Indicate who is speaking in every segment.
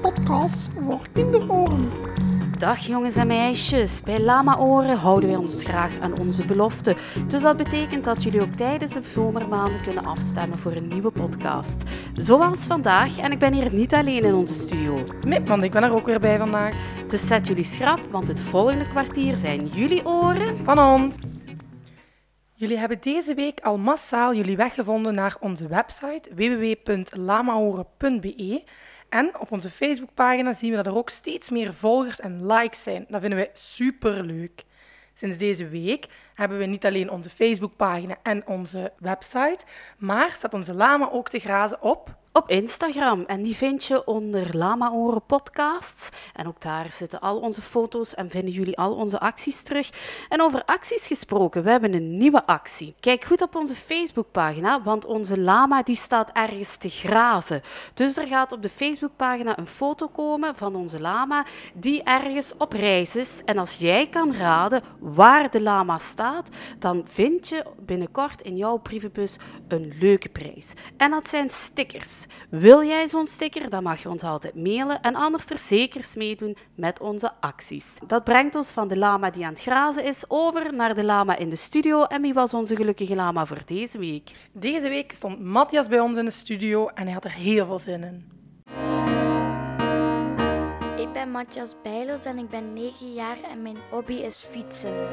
Speaker 1: podcast voor kinderoren.
Speaker 2: Dag jongens en meisjes. Bij Lama Oren houden wij ons graag aan onze belofte. Dus dat betekent dat jullie ook tijdens de zomermaanden kunnen afstemmen voor een nieuwe podcast. Zoals vandaag. En ik ben hier niet alleen in onze studio.
Speaker 3: Mip, want ik ben er ook weer bij vandaag.
Speaker 2: Dus zet jullie schrap, want het volgende kwartier zijn jullie oren.
Speaker 3: Van ons. Jullie hebben deze week al massaal jullie weg gevonden naar onze website www.lamahoren.be. En op onze Facebookpagina zien we dat er ook steeds meer volgers en likes zijn. Dat vinden wij superleuk. Sinds deze week hebben we niet alleen onze Facebookpagina en onze website, maar staat onze lama ook te grazen op
Speaker 2: Op Instagram. En die vind je onder Lama Oren Podcasts. En ook daar zitten al onze foto's en vinden jullie al onze acties terug. En over acties gesproken, we hebben een nieuwe actie. Kijk goed op onze Facebookpagina, want onze lama die staat ergens te grazen. Dus er gaat op de Facebookpagina een foto komen van onze lama die ergens op reis is. En als jij kan raden waar de lama staat, dan vind je binnenkort in jouw brievenbus een leuke prijs. En dat zijn stickers. Wil jij zo'n sticker, dan mag je ons altijd mailen en anders er zeker meedoen met onze acties. Dat brengt ons van de lama die aan het grazen is over naar de lama in de studio. En wie was onze gelukkige lama voor deze week?
Speaker 3: Deze week stond Matthias bij ons in de studio en hij had er heel veel zin in.
Speaker 4: Ik ben Matthias Bijlos en ik ben 9 jaar en mijn hobby is fietsen.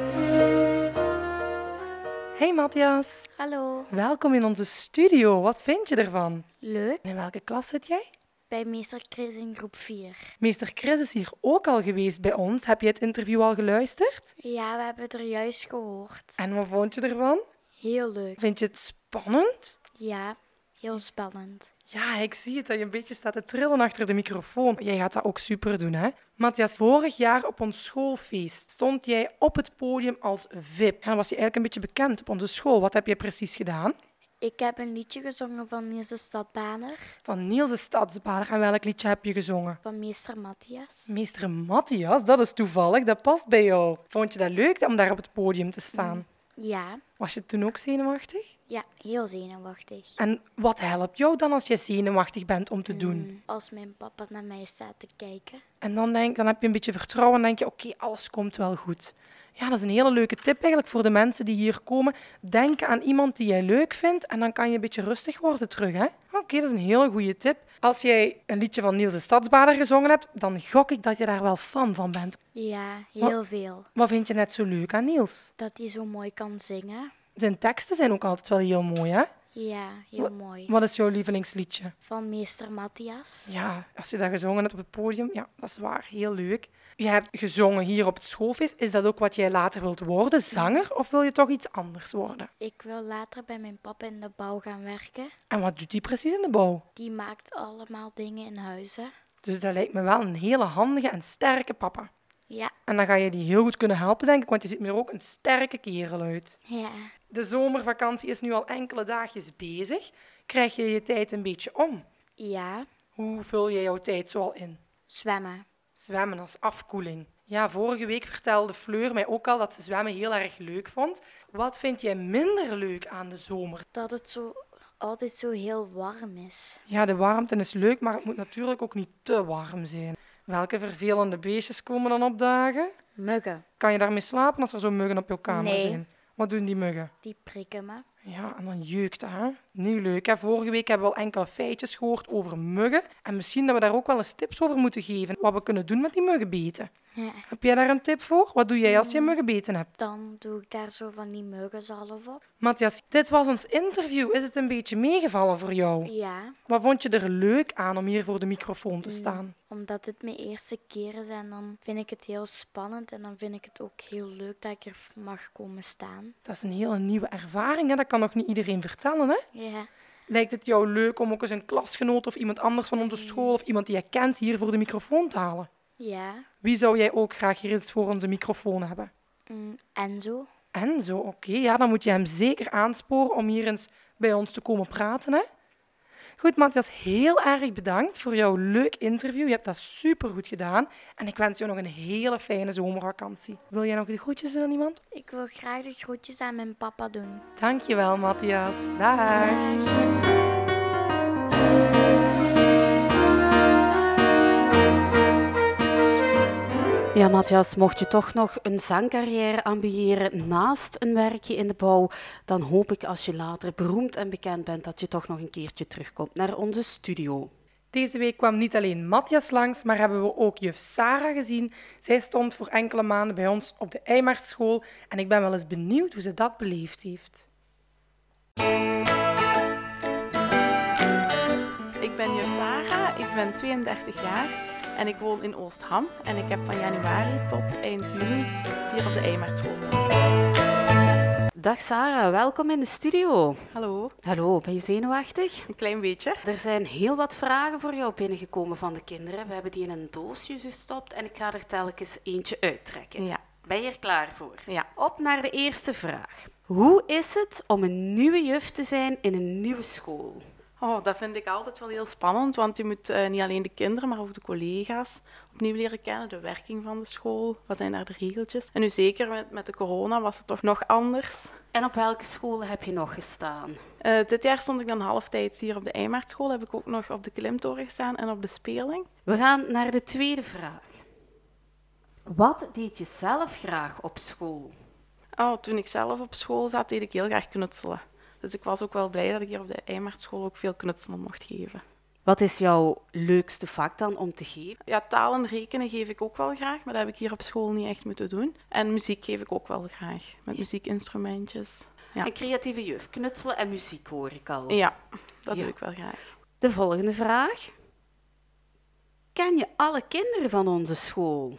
Speaker 3: Hey Matthias,
Speaker 4: Hallo.
Speaker 3: welkom in onze studio. Wat vind je ervan?
Speaker 4: Leuk.
Speaker 3: En In welke klas zit jij?
Speaker 4: Bij meester Chris in groep 4.
Speaker 3: Meester Chris is hier ook al geweest bij ons. Heb je het interview al geluisterd?
Speaker 4: Ja, we hebben het er juist gehoord.
Speaker 3: En wat vond je ervan?
Speaker 4: Heel leuk.
Speaker 3: Vind je het spannend?
Speaker 4: Ja, heel spannend.
Speaker 3: Ja, ik zie het dat je een beetje staat te trillen achter de microfoon. Jij gaat dat ook super doen, hè? Matthias, vorig jaar op ons schoolfeest stond jij op het podium als VIP. En dan was je eigenlijk een beetje bekend op onze school. Wat heb je precies gedaan?
Speaker 4: Ik heb een liedje gezongen van Nielse Stadbaner,
Speaker 3: Van Niels de Stadsbaar. En welk liedje heb je gezongen?
Speaker 4: van meester Matthias.
Speaker 3: Meester Matthias, dat is toevallig, dat past bij jou. Vond je dat leuk om daar op het podium te staan?
Speaker 4: Ja,
Speaker 3: Was je toen ook zenuwachtig?
Speaker 4: ja, heel zenuwachtig.
Speaker 3: En wat helpt jou dan als je zenuwachtig bent om te doen?
Speaker 4: Hm. Als mijn papa naar mij staat te kijken.
Speaker 3: En dan, denk, dan heb je een beetje vertrouwen en denk je, oké, alles komt wel goed. Ja, dat is een hele leuke tip eigenlijk voor de mensen die hier komen. Denk aan iemand die jij leuk vindt en dan kan je een beetje rustig worden terug. hè? Oké, dat is een hele goede tip. Als jij een liedje van Niels de Stadsbader gezongen hebt, dan gok ik dat je daar wel fan van bent.
Speaker 4: Ja, heel veel.
Speaker 3: Wat vind je net zo leuk aan Niels?
Speaker 4: Dat hij zo mooi kan zingen.
Speaker 3: Zijn teksten zijn ook altijd wel heel mooi, hè?
Speaker 4: Ja, heel mooi.
Speaker 3: Wat is jouw lievelingsliedje?
Speaker 4: Van meester Matthias.
Speaker 3: Ja, als je dat gezongen hebt op het podium, ja, dat is waar, heel leuk. Je hebt gezongen hier op het schoolfeest. Is dat ook wat jij later wilt worden, zanger, of wil je toch iets anders worden?
Speaker 4: Ik wil later bij mijn papa in de bouw gaan werken.
Speaker 3: En wat doet die precies in de bouw?
Speaker 4: Die maakt allemaal dingen in huizen.
Speaker 3: Dus dat lijkt me wel een hele handige en sterke papa.
Speaker 4: Ja,
Speaker 3: En dan ga je die heel goed kunnen helpen, denk ik, want je ziet me er ook een sterke kerel uit.
Speaker 4: ja.
Speaker 3: De zomervakantie is nu al enkele dagjes bezig. Krijg je je tijd een beetje om?
Speaker 4: Ja,
Speaker 3: Hoe vul je jouw tijd zoal in?
Speaker 4: zwemmen.
Speaker 3: Zwemmen als afkoeling. Ja, vorige week vertelde Fleur mij ook al dat ze zwemmen heel erg leuk vond. Wat vind jij minder leuk aan de zomer?
Speaker 4: Dat het zo altijd zo heel warm is.
Speaker 3: Ja, de warmte is leuk, maar het moet natuurlijk ook niet te warm zijn. Welke vervelende beestjes komen dan opdagen?
Speaker 4: Muggen,
Speaker 3: Kan je daarmee slapen als er zo muggen op jouw kamer
Speaker 4: Nee.
Speaker 3: zijn? Wat doen die muggen?
Speaker 4: die prikken me.
Speaker 3: Ja, en dan jeukt dat, hè? Niet leuk, hè? Vorige week hebben we al enkele feitjes gehoord over muggen. En misschien dat we daar ook wel eens tips over moeten geven. Wat we kunnen doen met die muggenbeten.
Speaker 4: Ja.
Speaker 3: Heb jij daar een tip voor? Wat doe jij als je muggenbeten hebt?
Speaker 4: Dan doe ik daar zo van die muggenzalf op.
Speaker 3: Matthias, dit was ons interview. Is het een beetje meegevallen voor jou?
Speaker 4: Ja,
Speaker 3: Wat vond je er leuk aan om hier voor de microfoon te staan?
Speaker 4: omdat het mijn eerste keer is en dan vind ik het heel spannend. En dan vind ik het ook heel leuk dat ik er mag komen staan.
Speaker 3: Dat is een hele nieuwe ervaring, hè? dat kan nog niet iedereen vertellen. Hè?
Speaker 4: Ja,
Speaker 3: Lijkt het jou leuk om ook eens een klasgenoot of iemand anders van onze school of iemand die je kent hier voor de microfoon te halen?
Speaker 4: ja.
Speaker 3: Wie zou jij ook graag hier eens voor onze microfoon hebben?
Speaker 4: Mm, En zo.
Speaker 3: En zo, oké, ja, dan moet je hem zeker aansporen om hier eens bij ons te komen praten. Hè? Goed, Matthias, heel erg bedankt voor jouw leuk interview. Je hebt dat supergoed gedaan. En ik wens jou nog een hele fijne zomervakantie. Wil jij nog de groetjes doen aan iemand?
Speaker 4: Ik wil graag de groetjes aan mijn papa doen.
Speaker 3: Dankjewel, Matthias. Dag.
Speaker 4: Dag.
Speaker 2: En Matthias, mocht je toch nog een zangcarrière ambiëren naast een werkje in de bouw, dan hoop ik als je later beroemd en bekend bent dat je toch nog een keertje terugkomt naar onze studio.
Speaker 3: Deze week kwam niet alleen Matthias langs, maar hebben we ook juf Sarah gezien. Zij stond voor enkele maanden bij ons op de Eimaartschool en ik ben wel eens benieuwd hoe ze dat beleefd heeft.
Speaker 5: Ik ben juf Sarah, ik ben 32 jaar en ik woon in Oostham. En ik heb van januari tot eind juni hier op de Eimaartschool gewoond.
Speaker 2: Dag Sarah, welkom in de studio.
Speaker 5: Hallo,
Speaker 2: Hallo, ben je zenuwachtig?
Speaker 5: een klein beetje.
Speaker 2: Er zijn heel wat vragen voor jou binnengekomen van de kinderen. We hebben die in een doosje gestopt en ik ga er telkens eentje uittrekken.
Speaker 5: Ja.
Speaker 2: Ben je er klaar voor?
Speaker 5: Ja.
Speaker 2: Op naar de eerste vraag. Hoe is het om een nieuwe juf te zijn in een nieuwe school?
Speaker 5: Oh, dat vind ik altijd wel heel spannend, want je moet eh, niet alleen de kinderen, maar ook de collega's opnieuw leren kennen. De werking van de school, wat zijn daar de regeltjes. En nu zeker met, met de corona was het toch nog anders.
Speaker 2: En op welke school heb je nog gestaan?
Speaker 5: Eh, dit jaar stond ik dan halftijds hier op de Eimaartschool. Heb ik ook nog op de Klimtoren gestaan en op de Speling.
Speaker 2: We gaan naar de tweede vraag. Wat deed je zelf graag op school?
Speaker 5: Oh, toen ik zelf op school zat, deed ik heel graag knutselen. Dus ik was ook wel blij dat ik hier op de Eimaartschool ook veel knutselen mocht geven.
Speaker 2: Wat is jouw leukste vak dan om te geven?
Speaker 5: Ja, taal en rekenen geef ik ook wel graag, maar dat heb ik hier op school niet echt moeten doen. En muziek geef ik ook wel graag, met muziekinstrumentjes. Ja.
Speaker 2: Een creatieve juf, knutselen en muziek hoor ik al.
Speaker 5: Ja, dat
Speaker 2: Ja.
Speaker 5: doe ik wel graag.
Speaker 2: De volgende vraag. Ken je alle kinderen van onze school?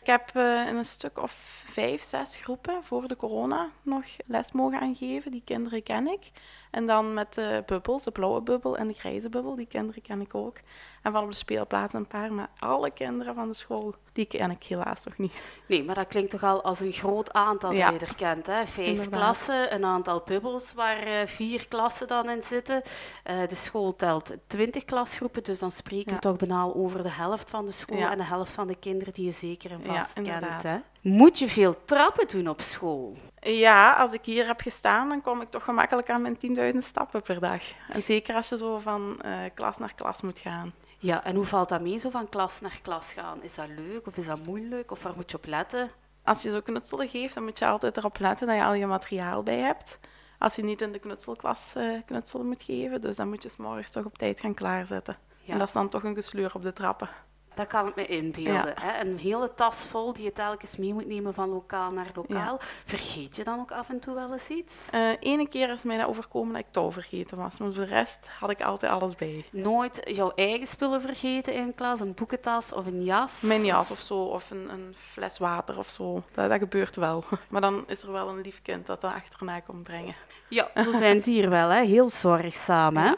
Speaker 5: Ik heb eh, in een stuk of vijf, zes groepen voor de corona nog les mogen aangeven. Die kinderen ken ik. En dan met de bubbels, de blauwe bubbel en de grijze bubbel, die kinderen ken ik ook. En van op de speelplaats een paar, maar alle kinderen van de school, die ken ik helaas nog niet.
Speaker 2: Nee, maar dat klinkt toch al als een groot aantal
Speaker 5: Ja.
Speaker 2: dat je er kent. Hè? Vijf
Speaker 5: Inderdaad.
Speaker 2: klassen, een aantal bubbels waar eh, vier klassen dan in zitten. Eh, de school telt twintig klasgroepen, dus dan spreken
Speaker 5: Ja.
Speaker 2: we toch bijna over de helft van de school
Speaker 5: Ja.
Speaker 2: en de helft van de kinderen die je zeker en
Speaker 5: Ja,
Speaker 2: vast kent.
Speaker 5: inderdaad.
Speaker 2: Hè? Moet je veel trappen doen op school?
Speaker 5: Ja, als ik hier heb gestaan, dan kom ik toch gemakkelijk aan mijn 10.000 stappen per dag. En zeker als je zo van eh, klas naar klas moet gaan.
Speaker 2: Ja, en hoe valt dat mee, zo van klas naar klas gaan? Is dat leuk of is dat moeilijk of waar moet je op letten?
Speaker 5: Als je zo knutselen geeft, dan moet je altijd erop letten dat je al je materiaal bij hebt. Als je niet in de knutselklas eh, knutselen moet geven, dus dan moet je 's morgens toch op tijd gaan klaarzetten.
Speaker 2: Ja.
Speaker 5: En dat is dan toch een gesleur op de trappen.
Speaker 2: Dat kan ik me inbeelden. Hè? Een hele tas vol die je telkens mee moet nemen van lokaal naar lokaal. Vergeet je dan ook af en toe wel eens iets?
Speaker 5: Eh Ene keer is mij dat overkomen dat ik touw vergeten was, maar voor de rest had ik altijd alles bij.
Speaker 2: Nooit jouw eigen spullen vergeten in klas, een boekentas of een jas.
Speaker 5: Mijn jas of zo, of een, een fles water of zo. Dat, dat gebeurt wel. Maar dan is er wel een lief kind dat dat achterna komt brengen.
Speaker 2: Ja, zo zijn ze hier wel, hè? heel zorgzaam. Hè?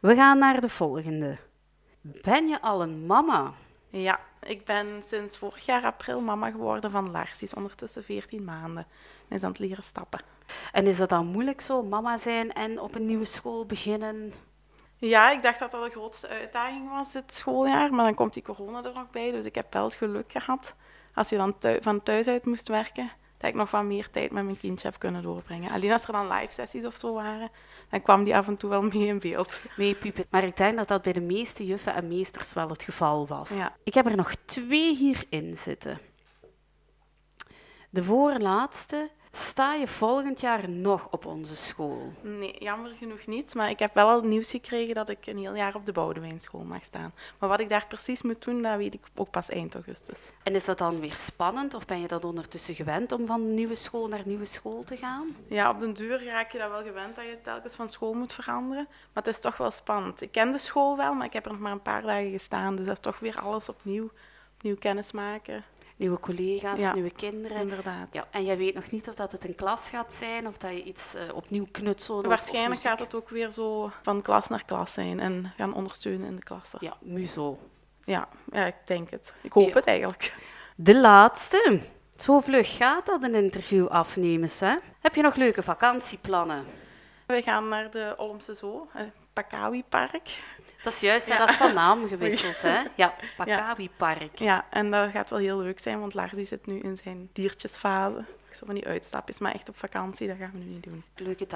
Speaker 2: We gaan naar de volgende. Ben je al een mama?
Speaker 5: Ja, ik ben sinds vorig jaar april mama geworden van Lars. Die is ondertussen 14 maanden. Hij is aan het leren stappen.
Speaker 2: En is dat dan moeilijk zo, mama zijn en op een nieuwe school beginnen?
Speaker 5: Ja, ik dacht dat dat de grootste uitdaging was dit schooljaar. Maar dan komt die corona er nog bij. Dus ik heb wel het geluk gehad. Als je dan thui- van thuis uit moest werken, dat ik nog wat meer tijd met mijn kindje heb kunnen doorbrengen. Alleen als er dan live sessies of zo waren, dan kwam die af en toe wel mee in beeld.
Speaker 2: mee piepen. Maar ik denk dat dat bij de meeste juffen en meesters wel het geval was.
Speaker 5: Ja.
Speaker 2: Ik heb er nog twee hierin zitten. De voorlaatste. Sta je volgend jaar nog op onze school?
Speaker 5: Nee, jammer genoeg niet. Maar ik heb wel al nieuws gekregen dat ik een heel jaar op de Boudewijnschool mag staan. Maar wat ik daar precies moet doen, dat weet ik ook pas eind augustus.
Speaker 2: En is dat dan weer spannend of ben je dat ondertussen gewend om van nieuwe school naar nieuwe school te gaan?
Speaker 5: Ja, op den duur raak je dat wel gewend dat je telkens van school moet veranderen. Maar het is toch wel spannend. Ik ken de school wel, maar ik heb er nog maar een paar dagen gestaan. Dus dat is toch weer alles opnieuw. Opnieuw kennis maken.
Speaker 2: Nieuwe collega's,
Speaker 5: Ja.
Speaker 2: nieuwe kinderen.
Speaker 5: Inderdaad.
Speaker 2: Ja, en jij weet nog niet of dat het een klas gaat zijn of dat je iets eh, opnieuw knutselt. of-
Speaker 5: Waarschijnlijk
Speaker 2: of muziek.
Speaker 5: gaat het ook weer zo van klas naar klas zijn en gaan ondersteunen in de klassen. Ja,
Speaker 2: Ja, muzo.
Speaker 5: ja, ik denk het. Ik hoop
Speaker 2: Ja.
Speaker 5: het eigenlijk.
Speaker 2: De laatste. Zo vlug gaat dat een interview afnemen, hè? Heb je nog leuke vakantieplannen?
Speaker 5: We gaan naar de Olmse Zoo, eh, Pakawi Park.
Speaker 2: Dat is juist, hè, dat is van naam gewisseld, hè? Ja, Pakabi Park.
Speaker 5: Ja, en dat gaat wel heel leuk zijn, want Lars die zit nu in zijn diertjesfase. werk. Zo van die uitstapjes. Maar echt op vakantie, dat gaan we nu niet doen.
Speaker 2: Leuke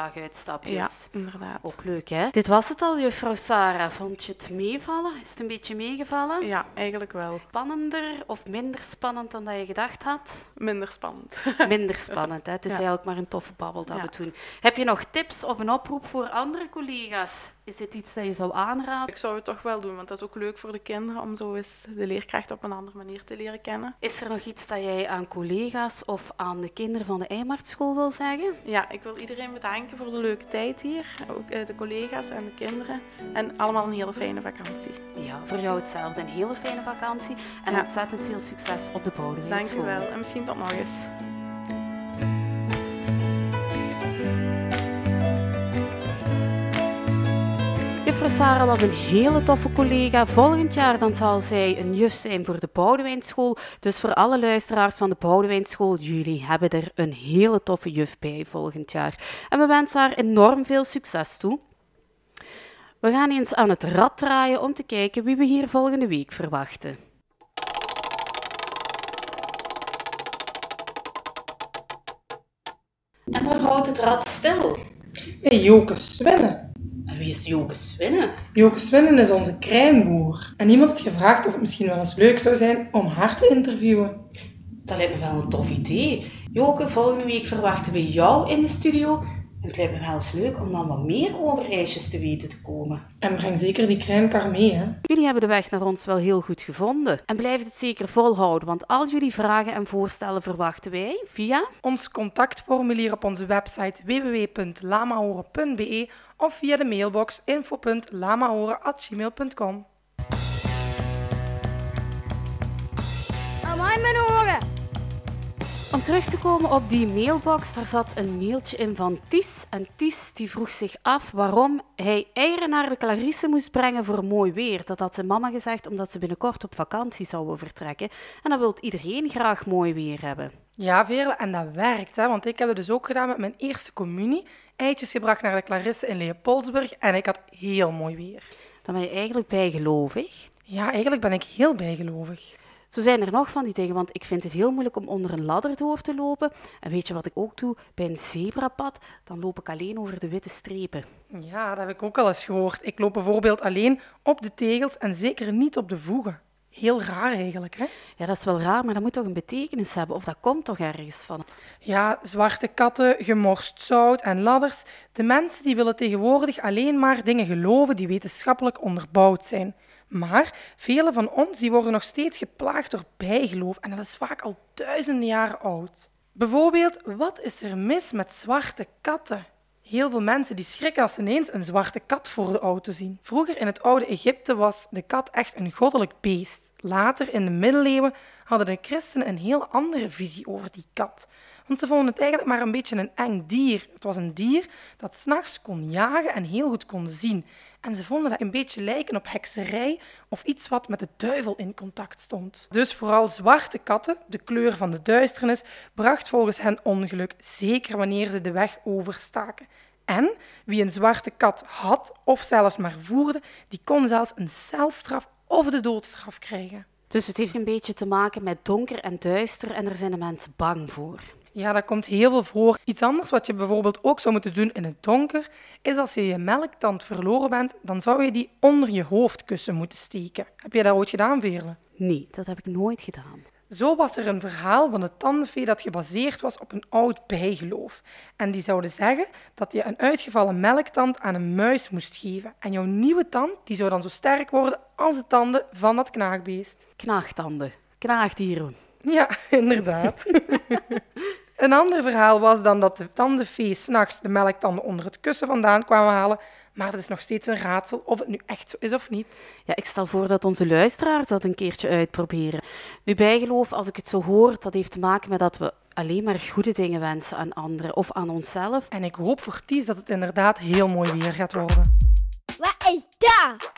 Speaker 2: daguitstapjes.
Speaker 5: Ja, inderdaad.
Speaker 2: Ook leuk, hè? Dit was het al, juffrouw Sarah. Vond je het meevallen? Is het een beetje meegevallen?
Speaker 5: Ja, eigenlijk wel.
Speaker 2: Spannender of minder spannend dan dat je gedacht had?
Speaker 5: Minder spannend.
Speaker 2: Minder spannend, hè? Het is
Speaker 5: Ja.
Speaker 2: eigenlijk maar een toffe babbel dat
Speaker 5: Ja.
Speaker 2: we doen. Heb je nog tips of een oproep voor andere collega's? Is dit iets dat je zou aanraden?
Speaker 5: Ik zou het toch wel doen, want dat is ook leuk voor de kinderen om zo eens de leerkracht op een andere manier te leren kennen.
Speaker 2: Is er nog iets dat jij aan collega's of aan de kinderen van de Eimartschool wil zeggen?
Speaker 5: Ja, ik wil iedereen bedanken voor de leuke tijd hier. Ook eh, de collega's en de kinderen. En allemaal een hele fijne vakantie.
Speaker 2: Ja, voor jou hetzelfde. Een hele fijne vakantie en
Speaker 5: Ja.
Speaker 2: ontzettend veel succes op de Boudewijnschool.
Speaker 5: Dank u wel. En misschien tot nog eens.
Speaker 2: Juffrouw Sarah was een hele toffe collega. Volgend jaar dan zal zij een juf zijn voor de Boudewijnschool. Dus voor alle luisteraars van de Boudewijnschool, jullie hebben er een hele toffe juf bij volgend jaar. En we wensen haar enorm veel succes toe. We gaan eens aan het rad draaien om te kijken wie we hier volgende week verwachten.
Speaker 6: En waar houdt het rad stil?
Speaker 7: Hey, Joke Swinnen.
Speaker 6: En wie is Joke Swinnen?
Speaker 7: Joke Swinnen is onze crèmeboer. En iemand had gevraagd of het misschien wel eens leuk zou zijn om haar te interviewen.
Speaker 6: Dat lijkt me wel een tof idee. Joke, volgende week verwachten we jou in de studio. En het lijkt me wel eens leuk om dan wat meer over ijsjes te weten te komen.
Speaker 7: En breng zeker die crèmekar mee, hè.
Speaker 2: Jullie hebben de weg naar ons wel heel goed gevonden. En blijf het zeker volhouden, want al jullie vragen en voorstellen verwachten wij via...
Speaker 3: Ons contactformulier op onze website www.lamahoren.be of via de mailbox info.lamahoren.gmail.com.
Speaker 8: Amai, mijn oren.
Speaker 2: Om terug te komen op die mailbox, daar zat een mailtje in van Ties. En Ties die vroeg zich af waarom hij eieren naar de Clarisse moest brengen voor mooi weer. Dat had zijn mama gezegd omdat ze binnenkort op vakantie zouden vertrekken. En dan wil iedereen graag mooi weer hebben.
Speaker 3: Ja, Veerle, en dat werkt, hè? want ik heb het dus ook gedaan met mijn eerste communie. Eitjes gebracht naar de Clarisse in Leopoldsburg en ik had heel mooi weer.
Speaker 2: Dan ben je eigenlijk bijgelovig.
Speaker 3: Ja, eigenlijk ben ik heel bijgelovig.
Speaker 2: Zo zijn er nog van die dingen, want ik vind het heel moeilijk om onder een ladder door te lopen. En weet je wat ik ook doe? Bij een zebrapad, dan loop ik alleen over de witte strepen.
Speaker 3: Ja, dat heb ik ook al eens gehoord. Ik loop bijvoorbeeld alleen op de tegels en zeker niet op de voegen. Heel raar eigenlijk, hè?
Speaker 2: Ja, dat is wel raar, maar dat moet toch een betekenis hebben? Of dat komt toch ergens van?
Speaker 3: Ja, zwarte katten, gemorst zout en ladders. De mensen die willen tegenwoordig alleen maar dingen geloven die wetenschappelijk onderbouwd zijn. Maar velen van ons die worden nog steeds geplaagd door bijgeloof en dat is vaak al duizenden jaren oud. Bijvoorbeeld, wat is er mis met zwarte katten? Heel veel mensen die schrikken als ze ineens een zwarte kat voor de auto zien. Vroeger in het oude Egypte was de kat echt een goddelijk beest. Later in de middeleeuwen hadden de christenen een heel andere visie over die kat. Want ze vonden het eigenlijk maar een beetje een eng dier. Het was een dier dat s'nachts kon jagen en heel goed kon zien. En ze vonden dat een beetje lijken op hekserij of iets wat met de duivel in contact stond. Dus vooral zwarte katten, de kleur van de duisternis, bracht volgens hen ongeluk, zeker wanneer ze de weg overstaken. En wie een zwarte kat had of zelfs maar voerde, die kon zelfs een celstraf of de doodstraf krijgen.
Speaker 2: Dus het heeft een beetje te maken met donker en duister en daar zijn de mensen bang voor.
Speaker 3: Ja, dat komt heel veel voor. Iets anders wat je bijvoorbeeld ook zou moeten doen in het donker, is als je je melktand verloren bent, dan zou je die onder je hoofdkussen moeten steken. Heb je dat ooit gedaan, Veerle?
Speaker 2: Nee, dat heb ik nooit gedaan.
Speaker 3: Zo was er een verhaal van de tandenfee dat gebaseerd was op een oud bijgeloof. En die zouden zeggen dat je een uitgevallen melktand aan een muis moest geven. En jouw nieuwe tand die zou dan zo sterk worden als de tanden van dat knaagbeest.
Speaker 2: Knaagtanden, knaagdieren.
Speaker 3: Ja, inderdaad. een ander verhaal was dan dat de tandenfee s'nachts de melktanden onder het kussen vandaan kwamen halen. Maar het is nog steeds een raadsel of het nu echt zo is of niet.
Speaker 2: Ja, ik stel voor dat onze luisteraars dat een keertje uitproberen. Nu, bijgeloof, als ik het zo hoor, dat heeft te maken met dat we alleen maar goede dingen wensen aan anderen of aan onszelf.
Speaker 3: En ik hoop voor Ties dat het inderdaad heel mooi weer gaat worden.
Speaker 8: Wat is dat?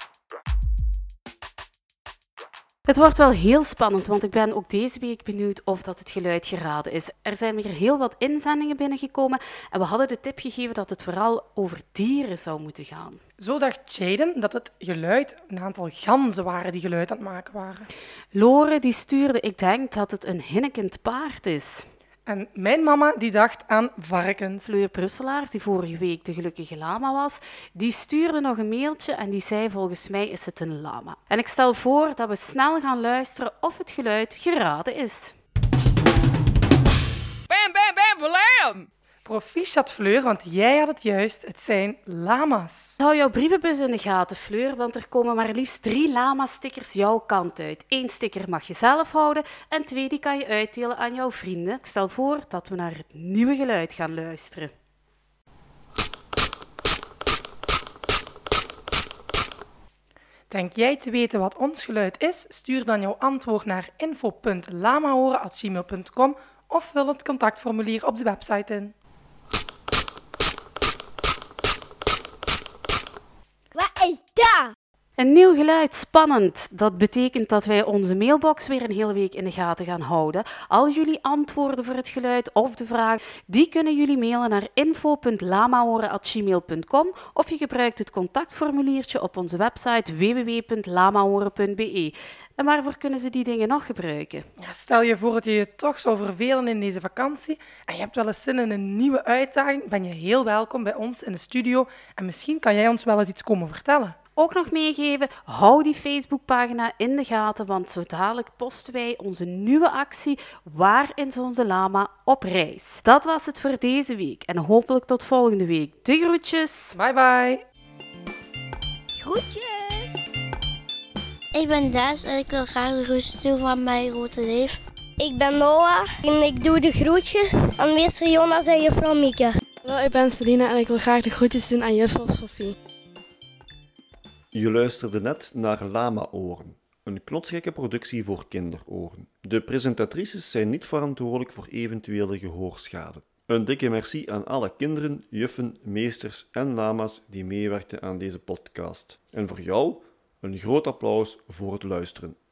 Speaker 2: Het wordt wel heel spannend, want ik ben ook deze week benieuwd of dat het geluid geraden is. Er zijn weer heel wat inzendingen binnengekomen en we hadden de tip gegeven dat het vooral over dieren zou moeten gaan.
Speaker 3: Zo dacht Jaden dat het geluid een aantal ganzen waren die geluid aan het maken waren.
Speaker 2: Lore die stuurde, ik denk dat het een hinnikend paard is.
Speaker 3: En mijn mama die dacht aan varkens.
Speaker 2: Fleur Brusselaars, die vorige week de gelukkige lama was, die stuurde nog een mailtje en die zei volgens mij is het een lama. En ik stel voor dat we snel gaan luisteren of het geluid geraden is.
Speaker 3: Proficiat Fleur, want jij had het juist. Het zijn lama's.
Speaker 2: Hou jouw brievenbus in de gaten, Fleur, want er komen maar liefst drie lama-stickers jouw kant uit. Eén sticker mag je zelf houden en twee die kan je uitdelen aan jouw vrienden. Ik stel voor dat we naar het nieuwe geluid gaan luisteren.
Speaker 3: Denk jij te weten wat ons geluid is? Stuur dan jouw antwoord naar info.lamahoren.gmail.com of vul het contactformulier op de website in.
Speaker 8: Wat is dat?
Speaker 2: Een nieuw geluid, spannend. Dat betekent dat wij onze mailbox weer een hele week in de gaten gaan houden. Al jullie antwoorden voor het geluid of de vraag, die kunnen jullie mailen naar info.lamahoren.gmail.com of je gebruikt het contactformuliertje op onze website www.lamahoren.be. En waarvoor kunnen ze die dingen nog gebruiken?
Speaker 3: Ja, stel je voor dat je je toch zou vervelen in deze vakantie en je hebt wel eens zin in een nieuwe uitdaging, ben je heel welkom bij ons in de studio en misschien kan jij ons wel eens iets komen vertellen.
Speaker 2: Ook nog meegeven, hou die Facebookpagina in de gaten, want zo dadelijk posten wij onze nieuwe actie Waar is onze lama op reis? Dat was het voor deze week en hopelijk tot volgende week. De groetjes!
Speaker 3: Bye bye!
Speaker 8: Groetjes.
Speaker 9: Ik ben Duits en ik wil graag de groetjes doen van mijn grote neef.
Speaker 8: Ik ben Noah en ik doe de groetjes aan meester Jonas en juffrouw Mieke.
Speaker 10: Hallo, ik ben Selina en ik wil graag de groetjes doen aan juffrouw Sophie.
Speaker 11: Je luisterde net naar Lama Oren, een knotsgekke productie voor kinderoren. De presentatrices zijn niet verantwoordelijk voor eventuele gehoorschade. Een dikke merci aan alle kinderen, juffen, meesters en lama's die meewerkten aan deze podcast. En voor jou een groot applaus voor het luisteren.